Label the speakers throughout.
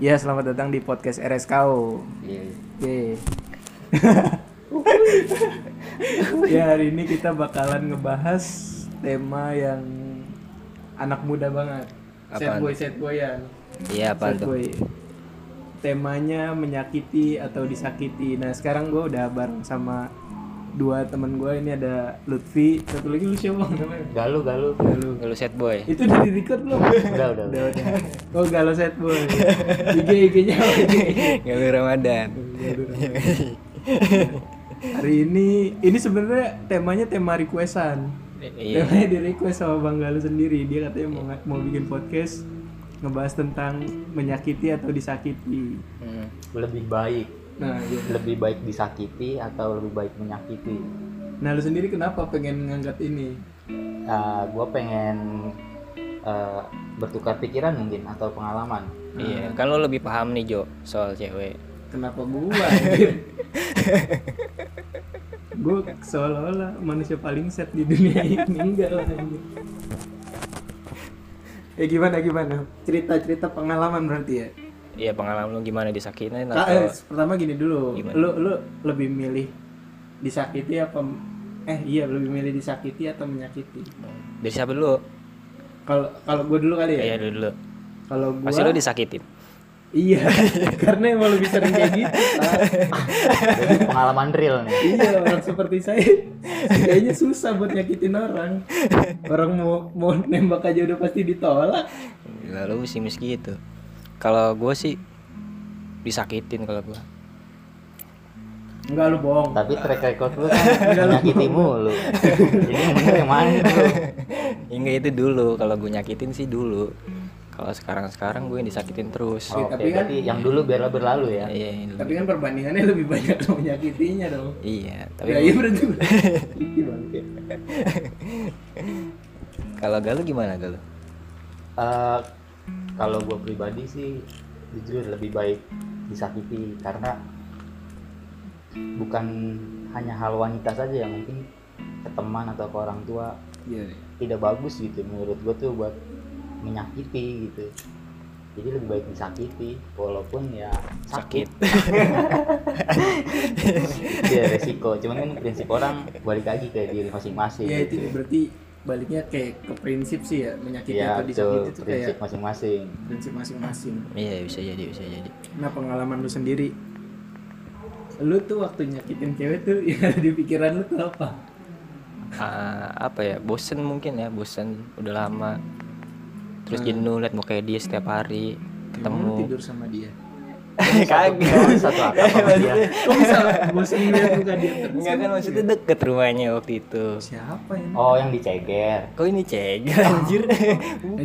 Speaker 1: Ya, selamat datang di podcast RSKO.
Speaker 2: Iya.
Speaker 1: Ye.
Speaker 2: Uhuh.
Speaker 1: ya, hari ini kita bakalan ngebahas tema yang anak muda banget. Set
Speaker 2: Apaan?
Speaker 1: boy, set boyan.
Speaker 2: Iya apa
Speaker 1: Sad
Speaker 2: tuh?
Speaker 1: boy. Temanya menyakiti atau disakiti. Nah, sekarang gue udah bareng sama dua teman gue ini ada Lutfi satu lagi lu siapa Bang, namanya
Speaker 2: Galu galu. Galu. Galu set boy.
Speaker 1: itu udah di record belum
Speaker 2: Udah udah.
Speaker 1: udah udah oh galau set boy IG IG nya
Speaker 2: Galu Ramadan.
Speaker 1: hari ini ini sebenarnya temanya tema requestan
Speaker 2: Iya.
Speaker 1: temanya di request sama bang galau sendiri dia katanya mau nga- mau bikin podcast ngebahas tentang menyakiti atau disakiti
Speaker 2: Hmm.
Speaker 3: lebih baik
Speaker 1: nah iya.
Speaker 3: lebih baik disakiti atau lebih baik menyakiti
Speaker 1: nah lu sendiri kenapa pengen ngangkat ini
Speaker 3: gue Eh, pengen eh, bertukar pikiran mungkin atau pengalaman
Speaker 2: Iya. Kan lo lebih paham nih Jo soal cewek.
Speaker 1: kenapa gua gue seolah-olah manusia paling set di dunia ini enggak lah anjing. ya gimana gimana cerita cerita pengalaman berarti ya
Speaker 2: Iya pengalaman lo gimana disakitin
Speaker 1: Ah, eh,
Speaker 2: atau
Speaker 1: pertama gini dulu
Speaker 2: Nah, Gimana?
Speaker 1: lu lu lebih milih disakiti apa eh iya lebih milih disakiti atau menyakiti
Speaker 2: dari siapa dulu?
Speaker 1: kalau kalau gue dulu kali ya
Speaker 2: Iya dulu. dulu.
Speaker 1: kalau gue
Speaker 2: Pasti lo disakitin.
Speaker 1: iya karena emang lebih sering kayak gitu Pak.
Speaker 3: jadi pengalaman real nih
Speaker 1: iya orang seperti saya kayaknya susah buat nyakitin orang orang mau mau nembak aja udah pasti ditolak
Speaker 2: Lalu pesimis gitu. Kalau gue sih disakitin kalau gue.
Speaker 1: enggak lu bohong
Speaker 3: tapi track record lu kan menyakiti mulu jadi yang bener yang mana nih, bro?
Speaker 2: Hingga Iya, itu dulu. Kalau gue nyakitin sih dulu. Kalau sekarang sekarang gue yang disakitin terus.
Speaker 3: oke
Speaker 1: tapi kan-
Speaker 3: berarti yang dulu biarlah berlalu ya
Speaker 2: Iya. yang dulu.
Speaker 1: tapi kan perbandingannya lebih banyak lo menyakitinya dong
Speaker 2: Iya. Tapi
Speaker 1: ya iya berarti Gitu, Bang.
Speaker 2: kalau galu gimana galu?
Speaker 3: Eh, kalau gue pribadi sih jujur lebih baik disakiti karena bukan hanya hal wanita saja yang mungkin ke teman atau ke orang tua
Speaker 2: Iya,
Speaker 3: tidak bagus gitu menurut gue tuh buat menyakiti gitu jadi lebih baik disakiti walaupun ya sakit, itu ya resiko cuman kan prinsip orang balik lagi ke diri masing-masing
Speaker 1: ya itu
Speaker 3: gitu.
Speaker 1: berarti baliknya kayak ke prinsip sih ya
Speaker 2: Iya,
Speaker 1: menyakiti
Speaker 3: ya
Speaker 1: atau disakiti
Speaker 3: betul
Speaker 1: itu
Speaker 3: prinsip
Speaker 1: kayak
Speaker 3: masing-masing
Speaker 1: prinsip masing-masing
Speaker 2: Iya bisa jadi bisa jadi.
Speaker 1: nah pengalaman lu sendiri lu tuh waktu nyakitin cewek tuh yang ada di pikiran lu tuh apa
Speaker 2: Ah, apa ya bosen mungkin ya bosen udah lama terus jenuh liat mukanya dia setiap hari
Speaker 1: Emang lu
Speaker 2: ketemu
Speaker 1: Hmm. tidur sama dia
Speaker 3: kagak satu ya. akal
Speaker 1: Iya,
Speaker 3: sama dia
Speaker 1: Kok bisa bosan ngeliat muka dia terus?
Speaker 2: enggak kan maksudnya
Speaker 1: Iya.
Speaker 2: deket rumahnya waktu itu
Speaker 1: Siapa ini?
Speaker 3: oh yang diceger
Speaker 2: kok ini ceger
Speaker 1: Oh.
Speaker 2: anjir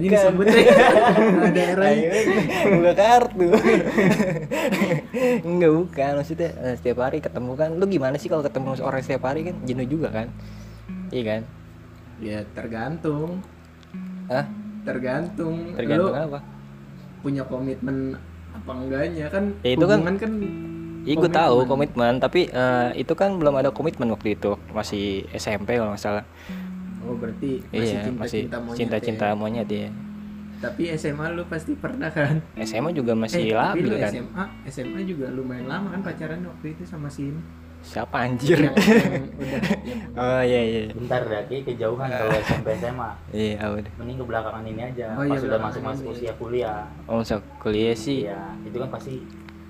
Speaker 1: Ini disebut ya. Nah, daerahnya.
Speaker 2: buka kartu enggak bukan maksudnya eh, setiap hari ketemu kan lu gimana sih kalau ketemu orang setiap hari kan jenuh juga kan iya kan
Speaker 1: Ya tergantung,
Speaker 2: Hah?
Speaker 1: tergantung. Lu
Speaker 2: tergantung apa
Speaker 1: punya komitmen apa enggaknya kan?
Speaker 2: Ya, itu kan-
Speaker 1: hubungan kan.
Speaker 2: Iya gue tahu komitmen, tapi eh, itu kan belum ada komitmen waktu itu masih SMP kalau nggak salah.
Speaker 1: Oh berarti masih
Speaker 2: Iya
Speaker 1: cinta
Speaker 2: masih
Speaker 1: cinta monyet.
Speaker 2: cinta-cinta
Speaker 1: ya.
Speaker 2: monyet ya.
Speaker 1: Tapi SMA lu pasti pernah kan?
Speaker 2: SMA juga
Speaker 1: Eh,
Speaker 2: masih
Speaker 1: tapi
Speaker 2: labil
Speaker 1: lu
Speaker 2: kan.
Speaker 1: SMA, SMA juga lumayan lama kan pacaran waktu itu sama si ini.
Speaker 2: Siapa anjir?
Speaker 1: yang, yang udah. yang-
Speaker 2: oh iya iya.
Speaker 3: bentar
Speaker 1: Ah.
Speaker 3: berarti kejauhan kalau SMP SMA
Speaker 2: Iya udah.
Speaker 3: mending ke belakangan ini aja
Speaker 1: Oh, iya,
Speaker 3: pas sudah
Speaker 1: belakangan
Speaker 3: masuk masuk
Speaker 1: ini.
Speaker 3: usia kuliah
Speaker 2: Oh so, kuliah sih.
Speaker 3: iya itu kan pasti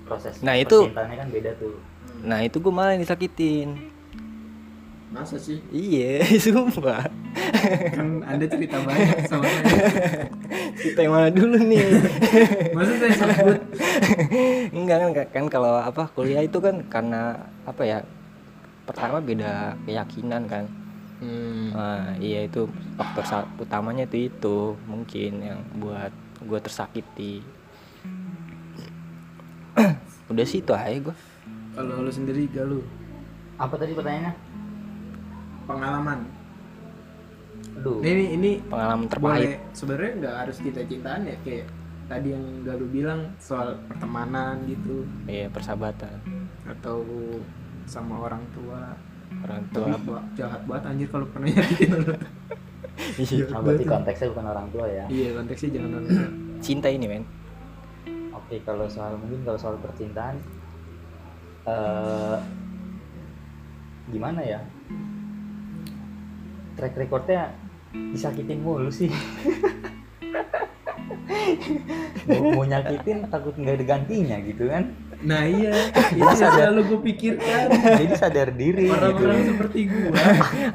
Speaker 3: proses
Speaker 2: Nah, itu-
Speaker 3: percintaannya kan beda tuh
Speaker 2: Nah itu gue malah yang disakitin.
Speaker 1: Masa sih?
Speaker 2: Iya sumpah.
Speaker 1: Kan anda cerita banyak sama saya.
Speaker 2: Kita yang mana dulu nih?
Speaker 1: Masa saya sebut
Speaker 2: Enggak kan kan kalau apa kuliah itu kan karena apa ya? Pertama beda keyakinan kan. Nah,
Speaker 1: Hmm.
Speaker 2: iya itu faktor sa- utamanya tuh itu mungkin yang buat gue tersakiti. Udah sih itu aja gue.
Speaker 1: Kalau lu sendiri galuh
Speaker 3: apa tadi pertanyaannya
Speaker 1: pengalaman.
Speaker 3: aduh
Speaker 1: Ini ini, ini
Speaker 2: Pengalaman terbaik.
Speaker 1: boleh sebenarnya nggak harus cinta-cintaan ya kayak tadi yang galuh bilang soal pertemanan gitu
Speaker 2: Iya persahabatan
Speaker 1: atau sama orang tua.
Speaker 2: orang
Speaker 1: Tapi
Speaker 2: tua.
Speaker 1: ba- jahat banget anjir kalau pernah nyakitin orang.
Speaker 2: Iya.
Speaker 3: Nah, berarti konteksnya bukan orang tua ya
Speaker 1: iya konteksnya jangan orang. tua.
Speaker 2: Cinta ini men.
Speaker 3: oke ya kalau soal mungkin kalau soal percintaan eh gimana ya track recordnya disakitin mulu sih mau, mau nyakitin takut nggak ada gantinya gitu kan
Speaker 1: Nah iya, itu yang selalu gue pikirkan.
Speaker 3: jadi sadar diri gitu
Speaker 1: Orang-orang seperti gua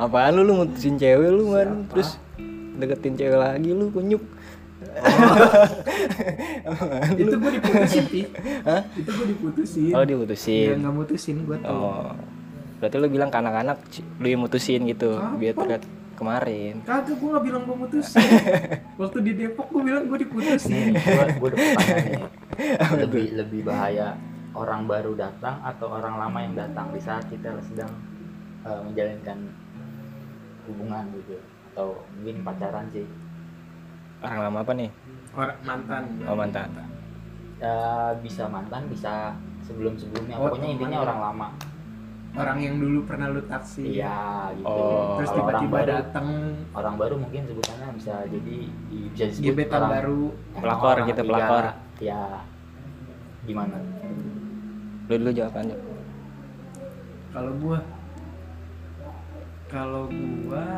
Speaker 2: Apaan lu lu mutusin cewek lu kan terus deketin cewek lagi lu kunyuk.
Speaker 1: itu gue diputusin sih.
Speaker 2: Hah?
Speaker 1: Itu gue diputusin.
Speaker 2: Oh
Speaker 1: Dia
Speaker 2: dimutusin.
Speaker 1: nggak mutusin gue tuh.
Speaker 2: Oh. Berarti lu bilang ke anak-anak "C- lu yang mutusin gitu biar terlihat kemarin.
Speaker 1: Kagak gue nggak bilang gue mutusin. Waktu di Depok gue bilang gue diputusin.
Speaker 3: nih gue gue nih lebih lebih bahaya orang baru datang atau orang lama yang datang di saat kita sedang eh, menjalankan hubungan gitu atau mungkin pacaran sih
Speaker 2: Orang lama apa nih?
Speaker 1: Orang mantan.
Speaker 2: Oh mantan.
Speaker 3: Ya, bisa mantan bisa sebelum sebelumnya
Speaker 1: Oh,
Speaker 3: pokoknya intinya
Speaker 1: mantan.
Speaker 3: orang lama
Speaker 1: Orang yang dulu pernah lu taksi.
Speaker 3: iya gitu
Speaker 2: Oh.
Speaker 1: Terus
Speaker 3: Kalau orang
Speaker 1: tiba-tiba
Speaker 3: baru
Speaker 1: dateng
Speaker 3: orang baru mungkin sebutannya bisa jadi di- bisa disebut
Speaker 1: gebetan
Speaker 3: orang-
Speaker 1: baru.
Speaker 3: orang-
Speaker 2: Pelakor
Speaker 3: orang
Speaker 2: gitu,
Speaker 3: ketiga.
Speaker 2: pelakor.
Speaker 3: ya gimana
Speaker 2: Lu dulu jawabannya.
Speaker 1: Kalau gua kalau gua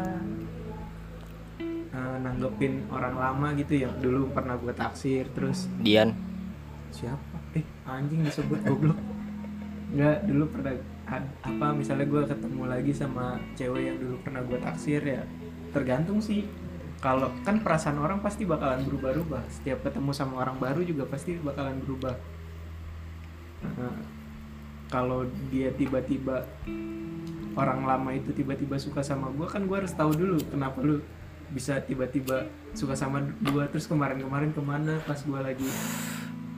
Speaker 1: eh, nanggepin orang lama gitu yang dulu pernah gua taksir terus
Speaker 2: Dian.
Speaker 1: siapa eh anjing disebut goblok nggak dulu pernah a- apa misalnya gue ketemu lagi sama cewek yang dulu pernah gue taksir ya tergantung sih kalau kan perasaan orang pasti bakalan berubah-ubah setiap ketemu sama orang baru juga pasti bakalan berubah Nah, kalau dia tiba-tiba orang lama itu tiba-tiba suka sama gue kan gue harus tahu dulu kenapa lu bisa tiba-tiba suka sama gue terus kemarin-kemarin kemana pas gue lagi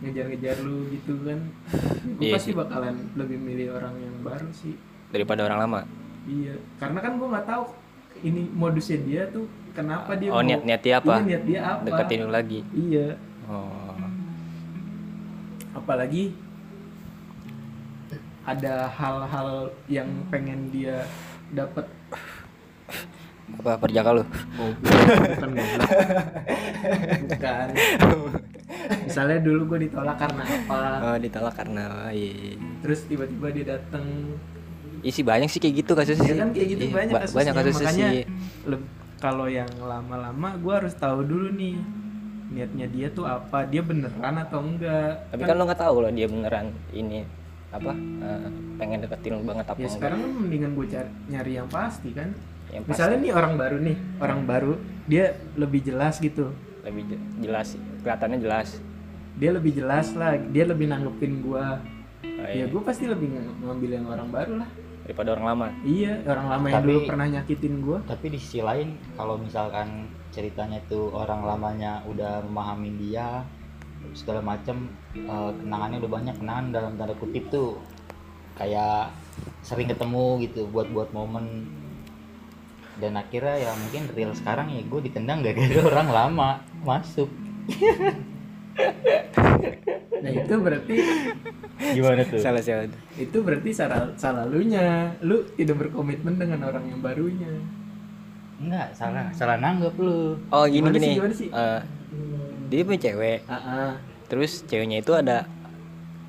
Speaker 1: ngejar-ngejar lu gitu kan gue
Speaker 2: Iya
Speaker 1: pasti bakalan lebih milih orang yang baru sih
Speaker 2: Daripada orang lama.
Speaker 1: iya karena kan gue nggak tahu ini modusnya dia tuh kenapa dia
Speaker 2: Oh
Speaker 1: mau-
Speaker 2: niat niatnya
Speaker 1: Iya,
Speaker 2: apa?
Speaker 1: niat dia apa
Speaker 2: Deketin lu lagi.
Speaker 1: iya
Speaker 2: Oh.
Speaker 1: apalagi ada hal-hal yang pengen dia dapat
Speaker 2: Apa perjaka lu?
Speaker 1: bukan goblok. bukan misalnya dulu gue ditolak karena apa
Speaker 2: Oh ditolak karena iya.
Speaker 1: terus tiba-tiba dia datang
Speaker 2: Iya sih banyak sih kayak gitu kasusnya.
Speaker 1: ya
Speaker 2: sih.
Speaker 1: kan kayak gitu
Speaker 2: Iya,
Speaker 1: banyak
Speaker 2: ba-
Speaker 1: kasusnya,
Speaker 2: banyak kasusnya
Speaker 1: makanya
Speaker 2: sih.
Speaker 1: leb- kalau yang lama-lama gue harus tahu dulu nih niatnya dia tuh apa dia beneran atau enggak
Speaker 2: Tapi kan lo nggak tahu loh dia beneran ini apa eh, pengen deketin lo banget
Speaker 1: ya
Speaker 2: apa Oh, enggak.
Speaker 1: sekarang lu mendingan gue cari nyari yang pasti kan
Speaker 2: Yang pas
Speaker 1: misalnya nih orang baru nih orang baru dia lebih jelas gitu
Speaker 2: lebih je- jelas sih. kelihatannya jelas.
Speaker 1: dia lebih jelas lah dia lebih nanggepin gue
Speaker 2: Oh,
Speaker 1: ya
Speaker 2: iya.
Speaker 1: gue pasti lebih ng- ngambil yang orang baru lah
Speaker 2: Daripada orang lama.
Speaker 1: iya orang lama yang
Speaker 3: Tapi-
Speaker 1: dulu pernah nyakitin gue
Speaker 3: tapi di sisi lain kalau misalkan ceritanya tuh orang lamanya udah memahami dia segala macam kenangannya udah banyak kenangan dalam tanda kutip tuh kayak sering ketemu gitu buat buat momen dan akhirnya ya mungkin real sekarang ya gue ditendang gak gara orang lama masuk
Speaker 1: nah itu berarti
Speaker 3: gimana tuh
Speaker 2: Salah salah.
Speaker 1: itu berarti salah salah lunya lu tidak berkomitmen dengan orang yang barunya
Speaker 3: enggak salah salah nanggep lu
Speaker 2: Oh gini
Speaker 1: Gimana sih,
Speaker 2: gini.
Speaker 1: gimana sih?
Speaker 2: Eh, dia punya cewek.
Speaker 1: ah
Speaker 2: Terus ceweknya itu ada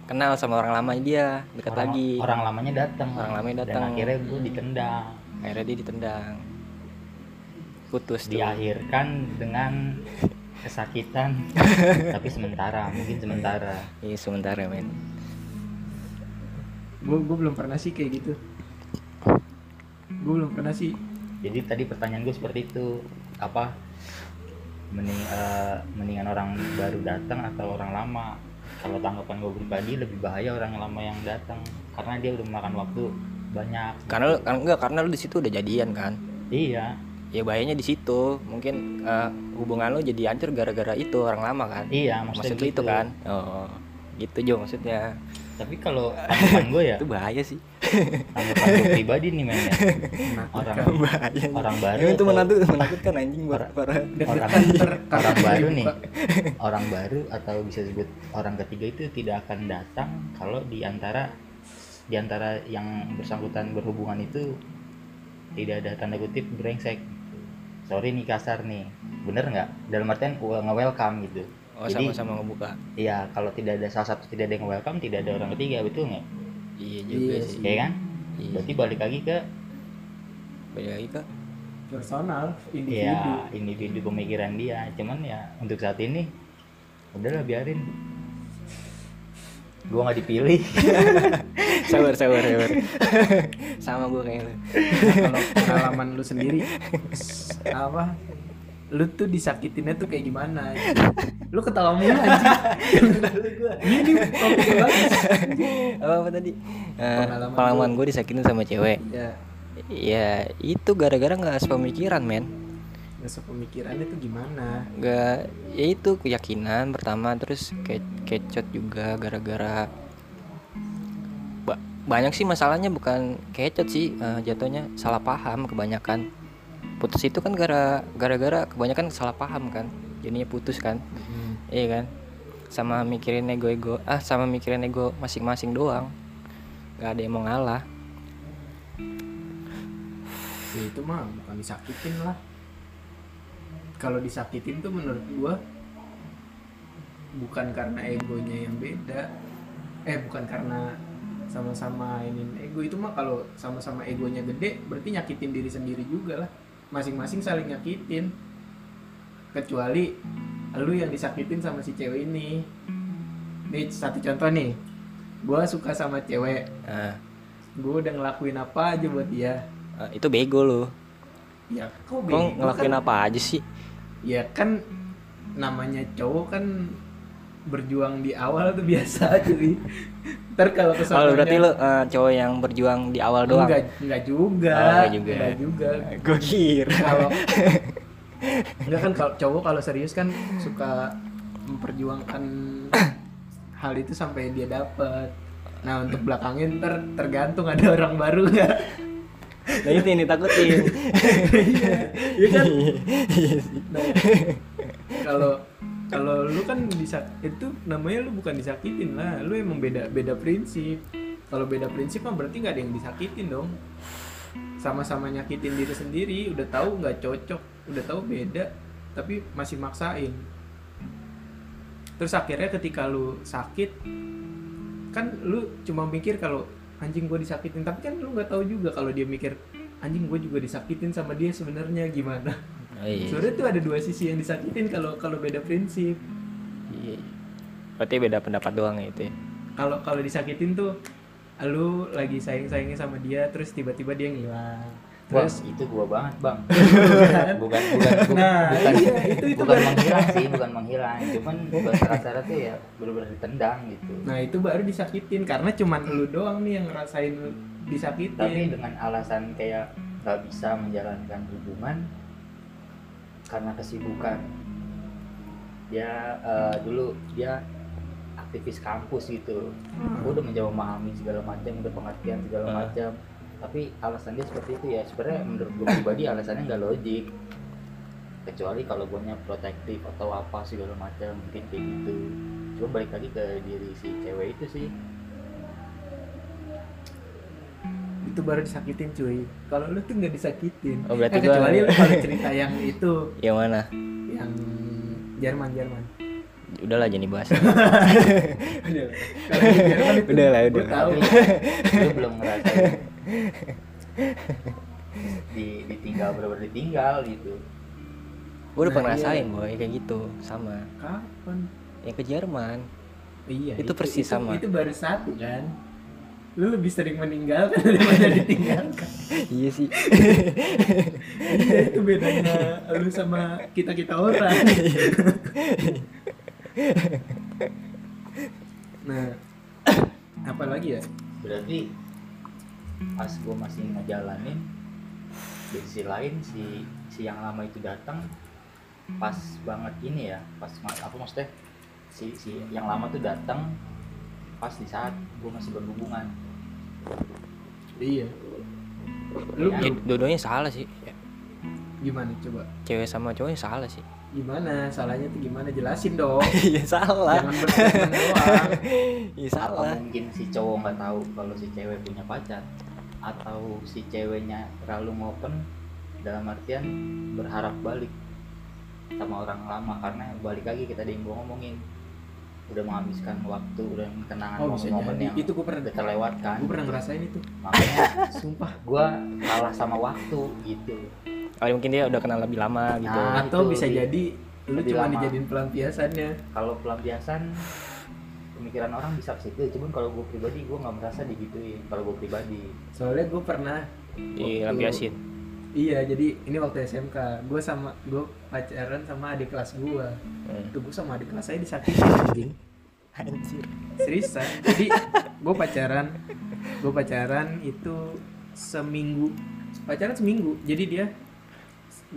Speaker 2: kenal sama orang lama dia dekat
Speaker 3: orang,
Speaker 2: lagi.
Speaker 3: orang lamanya datang
Speaker 2: Orang lamanya
Speaker 3: dan
Speaker 2: datang.
Speaker 3: akhirnya gue ditendang
Speaker 2: Akhirnya dia ditendang. Putus tuh.
Speaker 3: diakhirkan dengan kesakitan tapi sementara mungkin sementara
Speaker 2: Iya sementara men.
Speaker 1: gue belum pernah sih kayak gitu gue belum pernah sih
Speaker 3: jadi tadi pertanyaan gue seperti itu apa mending eh, mendingan orang baru datang atau orang lama kalau tanggapan gue pribadi lebih bahaya orang lama yang datang karena dia udah makan waktu banyak
Speaker 2: Karena lu, karena enggak karena lu di situ udah jadian kan.
Speaker 3: iya
Speaker 2: ya bahayanya di situ mungkin eh, hubungan lo jadi hancur gara-gara itu orang lama kan
Speaker 3: iya maksudnya
Speaker 2: maksud lo itu
Speaker 3: gitu.
Speaker 2: kan oh gitu Jo maksudnya
Speaker 3: tapi kalau tanggapan gue ya
Speaker 2: itu bahaya sih
Speaker 3: tanggapan gue pribadi nih mainnya orang
Speaker 2: bahaya
Speaker 3: orang baru
Speaker 2: itu
Speaker 3: atau-
Speaker 2: menakut menakutkan anjing para para
Speaker 3: orang
Speaker 1: Deg-degan ntar karena
Speaker 3: orang baru
Speaker 1: dibuka.
Speaker 3: nih orang baru atau bisa disebut orang ketiga itu tidak akan datang kalau di antara di antara yang bersangkutan berhubungan itu tidak ada tanda kutip brengsek sorry nih kasar nih bener nggak dalam artian nge welcome gitu
Speaker 2: oh
Speaker 3: Jadi-
Speaker 2: sama-sama ngebuka
Speaker 3: Iya, kalau tidak ada salah satu tidak ada yang welcome, tidak ada orang ketiga, betul nggak?
Speaker 2: iya juga
Speaker 1: Iya
Speaker 2: sih
Speaker 1: sih.
Speaker 3: Iya kan?
Speaker 2: Iya
Speaker 3: Berarti
Speaker 2: sih.
Speaker 3: balik lagi ke
Speaker 2: balik lagi ke
Speaker 1: personal individu
Speaker 3: ya individu pemikiran dia. Cuman ya untuk saat ini udahlah biarin. Gua nggak dipilih.
Speaker 2: sabar sabar sabar sama gue kayak lu
Speaker 1: Nah, kalau pengalaman lu sendiri s- apa lu tuh disakitinnya tuh kayak gimana anjing? lu ketawa mulu anjing ini nih topik yang bagus
Speaker 2: apa apa tadi Eh,
Speaker 1: Pengalaman
Speaker 2: pengalaman gue disakitin sama cewek
Speaker 1: ya
Speaker 2: ya itu gara-gara nggak sepemikiran men
Speaker 1: masa pemikirannya tuh gimana
Speaker 2: Gak, ya itu keyakinan pertama terus ke kecot juga gara-gara Ba- banyak sih masalahnya bukan kecot sih eh, jatuhnya salah paham kebanyakan putus itu kan gara- gara-gara kebanyakan salah paham kan jadinya putus kan
Speaker 1: Hmm.
Speaker 2: iya kan sama mikirin ego-ego ah sama mikirin ego masing-masing doang nggak ada yang mau ngalah
Speaker 1: ya itu mah bukan disakitin lah kalau disakitin tuh menurut gua bukan karena egonya yang beda eh bukan karena sama-sama ini ego itu mah kalau sama-sama egonya gede berarti nyakitin diri sendiri juga lah masing-masing saling nyakitin kecuali lu yang disakitin sama si cewek ini nih satu contoh nih gua suka sama cewek
Speaker 2: Nah,
Speaker 1: gua udah ngelakuin apa aja buat dia
Speaker 2: eh, itu bego lo
Speaker 1: ya kok
Speaker 2: kok
Speaker 1: bego
Speaker 2: ngelakuin
Speaker 1: kan?
Speaker 2: apa aja sih
Speaker 1: ya kan namanya cowok kan berjuang di awal tuh biasa cuy ntar kalau kesalahan
Speaker 2: oh berarti lo eh, cowok yang berjuang di awal doang
Speaker 1: enggak enggak juga
Speaker 2: Oh, enggak juga.
Speaker 1: enggak juga
Speaker 2: gue kira
Speaker 1: kalau enggak kan kalau cowok kalau serius kan suka memperjuangkan hal itu sampai dia dapat nah untuk belakangnya ntar tergantung ada orang baru nggak
Speaker 2: nah itu yang ditakutin
Speaker 1: Iya kan? Nah, kalau kalau lu kan bisa itu namanya lu bukan disakitin lah, lu emang beda beda prinsip. Kalau beda prinsip mah berarti nggak ada yang disakitin dong. Sama-sama nyakitin diri sendiri, udah tahu nggak cocok, udah tahu beda, tapi masih maksain. Terus akhirnya ketika lu sakit, kan lu cuma mikir kalau anjing gue disakitin, tapi kan lu nggak tahu juga kalau dia mikir anjing gue juga disakitin sama dia sebenarnya gimana
Speaker 2: oh, iya.
Speaker 1: sebenarnya tuh ada dua sisi yang disakitin kalau kalau beda prinsip
Speaker 2: Iya. berarti beda pendapat doang ya itu ya?
Speaker 1: kalau kalau disakitin tuh lu lagi sayang sayangnya sama dia terus tiba-tiba dia ngilang
Speaker 3: Wah,
Speaker 1: terus
Speaker 3: itu gua banget, Bang.
Speaker 1: kan?
Speaker 3: bukan bukan bu-
Speaker 1: Nah,
Speaker 3: bukan,
Speaker 1: iya, itu- itu
Speaker 3: bukan
Speaker 1: baru.
Speaker 3: menghilang sih bukan menghilang cuman bahasa tuh ya benar-benar ditendang gitu
Speaker 1: nah itu baru disakitin karena cuman lu doang nih yang ngerasain
Speaker 3: tapi
Speaker 1: disakitin
Speaker 3: dengan alasan kayak nggak bisa menjalankan hubungan karena kesibukan dia eh, dulu dia aktivis kampus gitu gue udah mencoba memahami segala macam udah pengertian segala
Speaker 2: Ah.
Speaker 3: macam tapi alasan dia seperti itu ya sebenarnya menurut gue pribadi alasannya nggak logik kecuali kalau gue protektif atau apa segala macam mungkin kayak gitu cuma balik lagi ke diri si cewek itu sih
Speaker 1: itu baru disakitin cuy kalau lu tuh nggak disakitin
Speaker 2: Oh, berarti
Speaker 1: Eh, kecuali
Speaker 2: gua-
Speaker 1: lu kalau cerita yang itu
Speaker 2: yang Ya, mana
Speaker 1: yang Jerman Jerman
Speaker 2: udahlah jangan dibahas
Speaker 1: Udah. Kalau yang Jerman itu
Speaker 2: Udah lah,
Speaker 1: gua
Speaker 2: udah.
Speaker 1: tahu
Speaker 3: tapi gue belum ngerasain di ditinggal benar-benar ditinggal gitu
Speaker 2: gue
Speaker 1: Nah,
Speaker 2: udah pernah
Speaker 1: iya.
Speaker 2: ngerasain boy kayak gitu sama
Speaker 1: kapan
Speaker 2: yang ke Jerman
Speaker 1: Iya.
Speaker 2: Itu persis sama.
Speaker 1: Itu baru satu kan. Lu lebih sering meninggalkan daripada ditinggalkan.
Speaker 2: iya sih
Speaker 1: Iya itu bedanya lu sama kita kita orang. nah, apa lagi ya?
Speaker 3: berarti pas gue masih ngejalanin di sisi lain si si yang lama itu datang pas banget ini ya pas ma- apa maksudnya si si yang lama tuh datang pas di saat gue masih berhubungan
Speaker 1: Iya. Lu
Speaker 2: ya,
Speaker 1: belum-
Speaker 2: dua-duanya salah sih Ya,
Speaker 1: gimana coba?
Speaker 2: cewek sama cowoknya salah sih
Speaker 1: Gimana? Salahnya tuh gimana? Jelasin dong.
Speaker 2: iya salah
Speaker 1: Jangan berteman doang.
Speaker 2: iya
Speaker 3: apa
Speaker 2: salah
Speaker 3: mungkin si cowok nggak tahu kalau si cewek punya pacar atau si ceweknya terlalu ngopen dalam artian berharap balik sama orang lama karena balik lagi kita ada yang gua ngomongin udah menghabiskan waktu dan kenangan
Speaker 1: oh bisa
Speaker 3: momen-momen
Speaker 1: jadi
Speaker 3: yang
Speaker 1: itu gue pernah
Speaker 3: udah terlewatkan
Speaker 1: gue pernah ngerasain itu
Speaker 3: makanya
Speaker 1: sumpah
Speaker 3: gua kalah sama waktu gitu
Speaker 2: oh, mungkin dia udah kenal lebih lama gitu
Speaker 3: Nah,
Speaker 1: atau
Speaker 3: itu
Speaker 1: bisa
Speaker 3: lebih-
Speaker 1: jadi lu
Speaker 3: lebih
Speaker 1: cuma
Speaker 3: lama.
Speaker 1: dijadiin pelampiasannya
Speaker 3: kalau pelampiasan pemikiran orang bisa ke situ cuman kalau gue pribadi gue nggak merasa digituin kalau gue pribadi
Speaker 1: soalnya gue pernah
Speaker 2: dilampiasin
Speaker 1: iya jadi ini waktu SMK gue sama gue pacaran sama adik kelas gue
Speaker 2: hmm.
Speaker 1: tuh gue sama adik kelas saya disakitin anjing
Speaker 2: anjir
Speaker 1: seriusan jadi gue pacaran gue pacaran itu seminggu pacaran seminggu jadi dia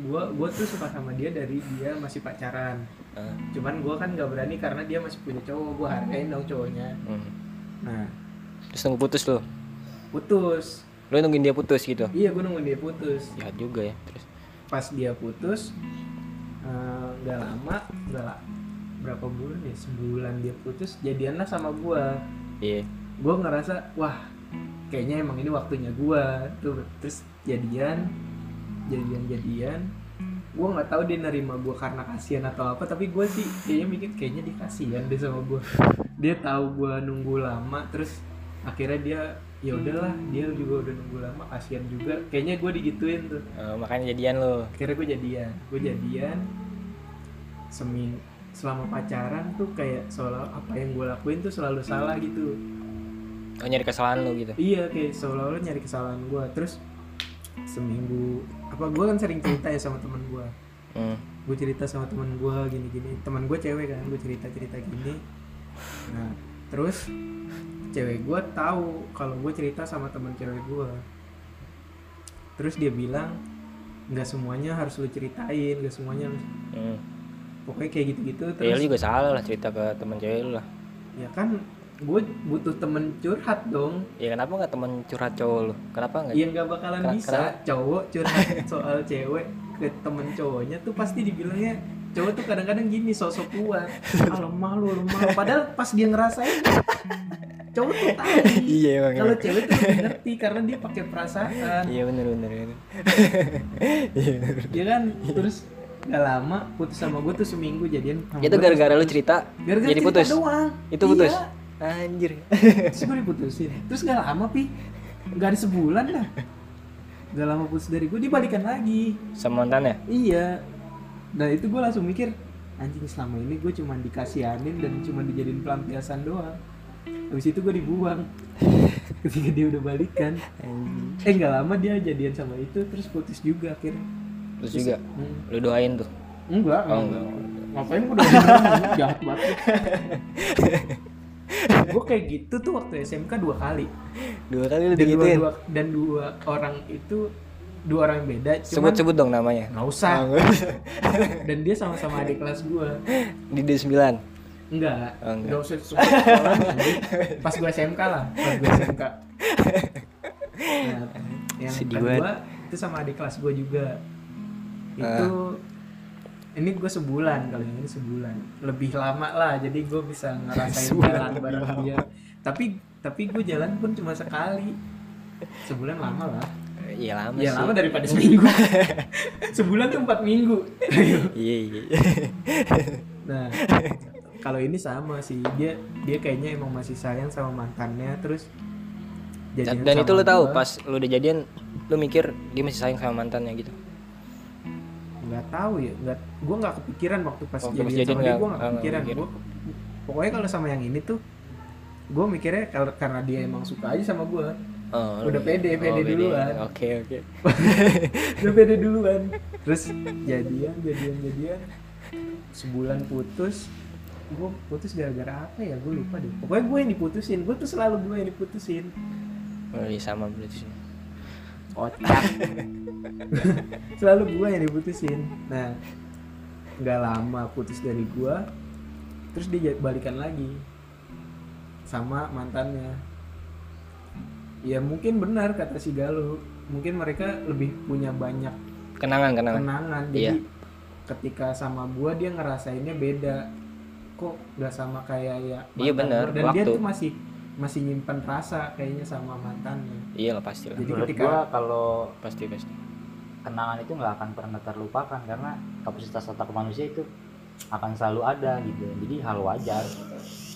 Speaker 1: gue gue tuh suka sama dia dari dia masih pacaran
Speaker 2: Ah.
Speaker 1: cuman gue kan nggak berani karena dia masih punya cowok gue hargain dong cowoknya
Speaker 2: hmm.
Speaker 1: nah
Speaker 2: terus nunggu putus lo
Speaker 1: putus
Speaker 2: lo nungguin dia putus gitu
Speaker 1: iya gue nungguin dia putus
Speaker 2: jahat juga ya terus
Speaker 1: pas dia putus eh, nggak lama nggak la- berapa bulan ya sebulan dia putus jadianlah sama gue
Speaker 2: iya
Speaker 1: gue ngerasa wah kayaknya emang ini waktunya gue tuh terus jadian jadian jadian gue nggak tahu dia nerima gue karena kasihan atau apa tapi gue sih kayaknya mikir kayaknya dia kasihan deh sama gue dia tahu gue nunggu lama terus akhirnya dia ya udahlah dia juga udah nunggu lama kasihan juga kayaknya gue digituin tuh
Speaker 2: Eh, makanya jadian lo
Speaker 1: akhirnya gue jadian gue jadian seming selama pacaran tuh kayak seolah apa yang gue lakuin tuh selalu salah gitu
Speaker 2: oh, nyari kesalahan lo gitu
Speaker 1: iya kayak seolah-olah nyari kesalahan gue terus seminggu apa gue kan sering cerita ya sama teman gue
Speaker 2: hmm.
Speaker 1: gue cerita sama teman gue gini-gini teman gue cewek kan gue cerita cerita gini nah terus cewek gue tahu kalau gue cerita sama teman cewek gue terus dia bilang nggak semuanya harus lu ceritain nggak semuanya harus-
Speaker 2: Hmm.
Speaker 1: pokoknya kayak gitu-gitu terus
Speaker 2: Ya, lu juga salah lah cerita ke temen cewek lu lah
Speaker 1: ya kan gue butuh temen curhat dong
Speaker 2: ya kenapa nggak temen curhat cowok lu kenapa nggak
Speaker 1: yang nggak bakalan
Speaker 2: Kera-
Speaker 1: bisa cowok curhat soal cewek ke temen cowoknya tuh pasti dibilangnya cowok tuh kadang-kadang gini sosok kuat ah lemah lu lemah lu." padahal pas dia ngerasain cowok tuh tahu
Speaker 2: iya emang
Speaker 1: kalau cewek tuh lebih ngerti karena dia pakai perasaan
Speaker 2: iya bener bener bener. iya bener.
Speaker 1: dia kan terus gak lama putus sama gue tuh seminggu jadian sama
Speaker 2: itu
Speaker 1: gua.
Speaker 2: gara-gara lu cerita
Speaker 1: gara-gara
Speaker 2: jadi
Speaker 1: cerita
Speaker 2: putus
Speaker 1: doang
Speaker 2: itu putus
Speaker 1: Iya.
Speaker 2: anjir
Speaker 1: terus gue diputusin terus gak lama pi gak ada sebulan lah gak lama putus dari gue dibalikan lagi
Speaker 2: sama mantan ya
Speaker 1: Iya. Dan itu gue langsung mikir, anjing selama ini gue cuma dikasihanin dan cuma dijadiin pelampiasan doang. Habis itu gue dibuang. Ketika dia udah balikan. Eh nggak lama dia jadian sama itu terus putus juga akhirnya.
Speaker 2: terus juga
Speaker 1: Hmm.
Speaker 2: lu doain tuh
Speaker 1: Enggak,
Speaker 2: Iya. Oh,
Speaker 1: enggak.
Speaker 2: enggak.
Speaker 1: Ngapain gue udah bilang, jahat banget. gue kayak gitu tuh waktu SMK dua kali.
Speaker 2: dua kali lu
Speaker 1: Dan dua,
Speaker 2: digituin
Speaker 1: dua- dan dua orang itu dua orang yang beda. Cuman
Speaker 2: sebut-sebut dong namanya
Speaker 1: nggak usah. Dan dia sama-sama adik kelas gue.
Speaker 2: di D9
Speaker 1: Enggak,
Speaker 2: Oh, enggak.
Speaker 1: enggak usah sebut sekolah anjing. Pas gue SMK lah, pas gue SMK. Nah, yang
Speaker 2: Sedih
Speaker 1: kedua itu sama adik kelas gue juga.
Speaker 2: Ah.
Speaker 1: Itu ini gue sebulan kali ini sebulan. Lebih lama lah, jadi gue bisa ngerasain jalan bareng dia. Tapi tapi gue jalan pun cuma sekali. Sebulan lama lah.
Speaker 2: Eh, iya lama
Speaker 1: Ya
Speaker 2: sih
Speaker 1: lama daripada seminggu. sebulan tuh empat minggu.
Speaker 2: iya iya
Speaker 1: Nah, kalau ini sama sih dia dia kayaknya emang masih sayang sama mantannya terus
Speaker 2: dan,
Speaker 1: jadian
Speaker 2: dan
Speaker 1: sama
Speaker 2: itu lu tahu
Speaker 1: gua.
Speaker 2: pas lu udah jadian lu mikir dia masih sayang sama mantannya gitu
Speaker 1: nggak tahu ya nggak gue nggak kepikiran waktu pas
Speaker 2: Waktu pas
Speaker 1: jadian
Speaker 2: jadian
Speaker 1: sama dia
Speaker 2: nggak-
Speaker 1: gue nggak
Speaker 2: nggak
Speaker 1: kepikiran
Speaker 2: mikir.
Speaker 1: Gua, pokoknya kalau sama yang ini tuh gue mikirnya kalau karena dia emang suka aja sama gue
Speaker 2: Oh,
Speaker 1: Udah
Speaker 2: lu-
Speaker 1: pede, pede duluan.
Speaker 2: Oke, oke.
Speaker 1: udah beda duluan terus jadian jadian jadian sebulan putus gue putus gara-gara apa ya gue lupa deh pokoknya gue yang diputusin gue tuh selalu gue yang diputusin
Speaker 2: Oh, iya, sama berarti. sih.
Speaker 1: kocak selalu gue yang diputusin nah nggak lama putus dari gue terus dia jad- balikan lagi sama mantannya ya mungkin benar kata si Galuh mungkin mereka lebih punya banyak
Speaker 2: Kenangan, kenangan. Iya.
Speaker 1: kenangan jadi ketika sama gue dia ngerasainnya beda kok nggak sama kayak ya mantan
Speaker 2: Iya, benar.
Speaker 1: gua. dan dia
Speaker 2: Waktu.
Speaker 1: tuh masih masih nyimpen rasa kayaknya sama mantannya
Speaker 2: Iya lah pasti lah.
Speaker 1: jadi
Speaker 3: menurut
Speaker 1: ketika
Speaker 3: gue kalau
Speaker 2: Pasti pasti.
Speaker 3: kenangan itu nggak akan pernah terlupakan karena kapasitas otak manusia itu akan selalu ada gitu jadi hal wajar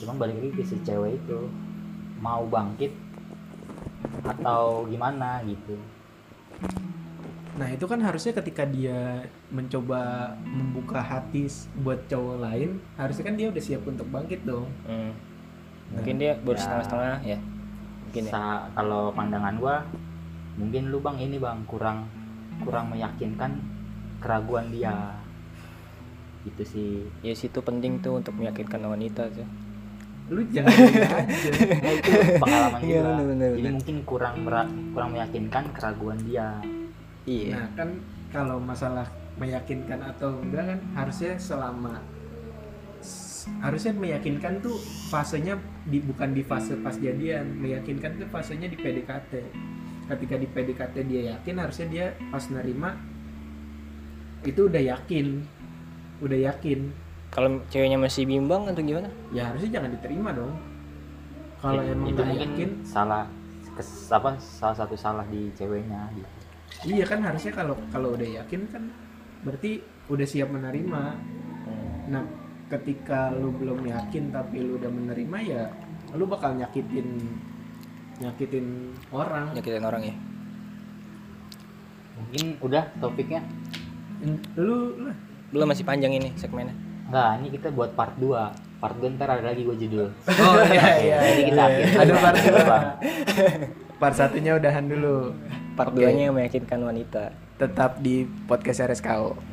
Speaker 3: cuma balik lagi ke si cewek itu mau bangkit atau gimana gitu
Speaker 1: Nah itu kan harusnya ketika dia mencoba membuka hati s- buat cowok lain, harusnya kan dia udah siap untuk bangkit dong.
Speaker 2: Hmm. Mungkin dia baru
Speaker 3: Ya.
Speaker 2: setengah-setengah ya. Mungkin ya.
Speaker 3: Sa- kalau pandangan gua mungkin lu bang ini bang kurang kurang meyakinkan keraguan dia gitu sih
Speaker 2: Ya situ penting tuh untuk meyakinkan wanita tuh.
Speaker 1: Lu jangan gini aja.
Speaker 3: Nah, itu pengalaman
Speaker 2: Iya,
Speaker 3: gua
Speaker 2: bener-bener,
Speaker 3: jadi
Speaker 2: bener.
Speaker 3: mungkin kurang mera- kurang meyakinkan keraguan dia
Speaker 1: Nah
Speaker 2: Iya.
Speaker 1: kan kalau masalah meyakinkan atau enggak kan harusnya selama s- harusnya meyakinkan tuh fasenya di, bukan di fase pas jadian meyakinkan tuh fasenya di PDKT ketika di PDKT dia yakin harusnya dia pas nerima itu udah yakin udah yakin
Speaker 2: Kalau ceweknya masih bimbang atau gimana?
Speaker 1: ya harusnya jangan diterima dong kalau
Speaker 3: Itu-
Speaker 1: emang
Speaker 3: Iya, itu
Speaker 1: nggak
Speaker 3: mungkin
Speaker 1: yakin
Speaker 3: salah kes- apa salah satu salah di ceweknya gitu.
Speaker 1: iya kan harusnya kalau kalau udah yakin kan berarti udah siap menerima nah ketika lu belum yakin tapi lu udah menerima ya lu bakal nyakitin nyakitin orang
Speaker 2: Nyakitin orang ya.
Speaker 3: mungkin udah topiknya
Speaker 1: lu lah
Speaker 2: Belum masih panjang ini segmennya.
Speaker 3: enggak ini kita buat part 2 part 2 ntar ada lagi gua judul
Speaker 1: oh iya iya
Speaker 3: jadi kita akhir
Speaker 1: ada part dua part satunya udahan dulu
Speaker 2: Part
Speaker 1: Oke.
Speaker 2: 2-nya meyakinkan wanita.
Speaker 1: tetap di podcast RSKO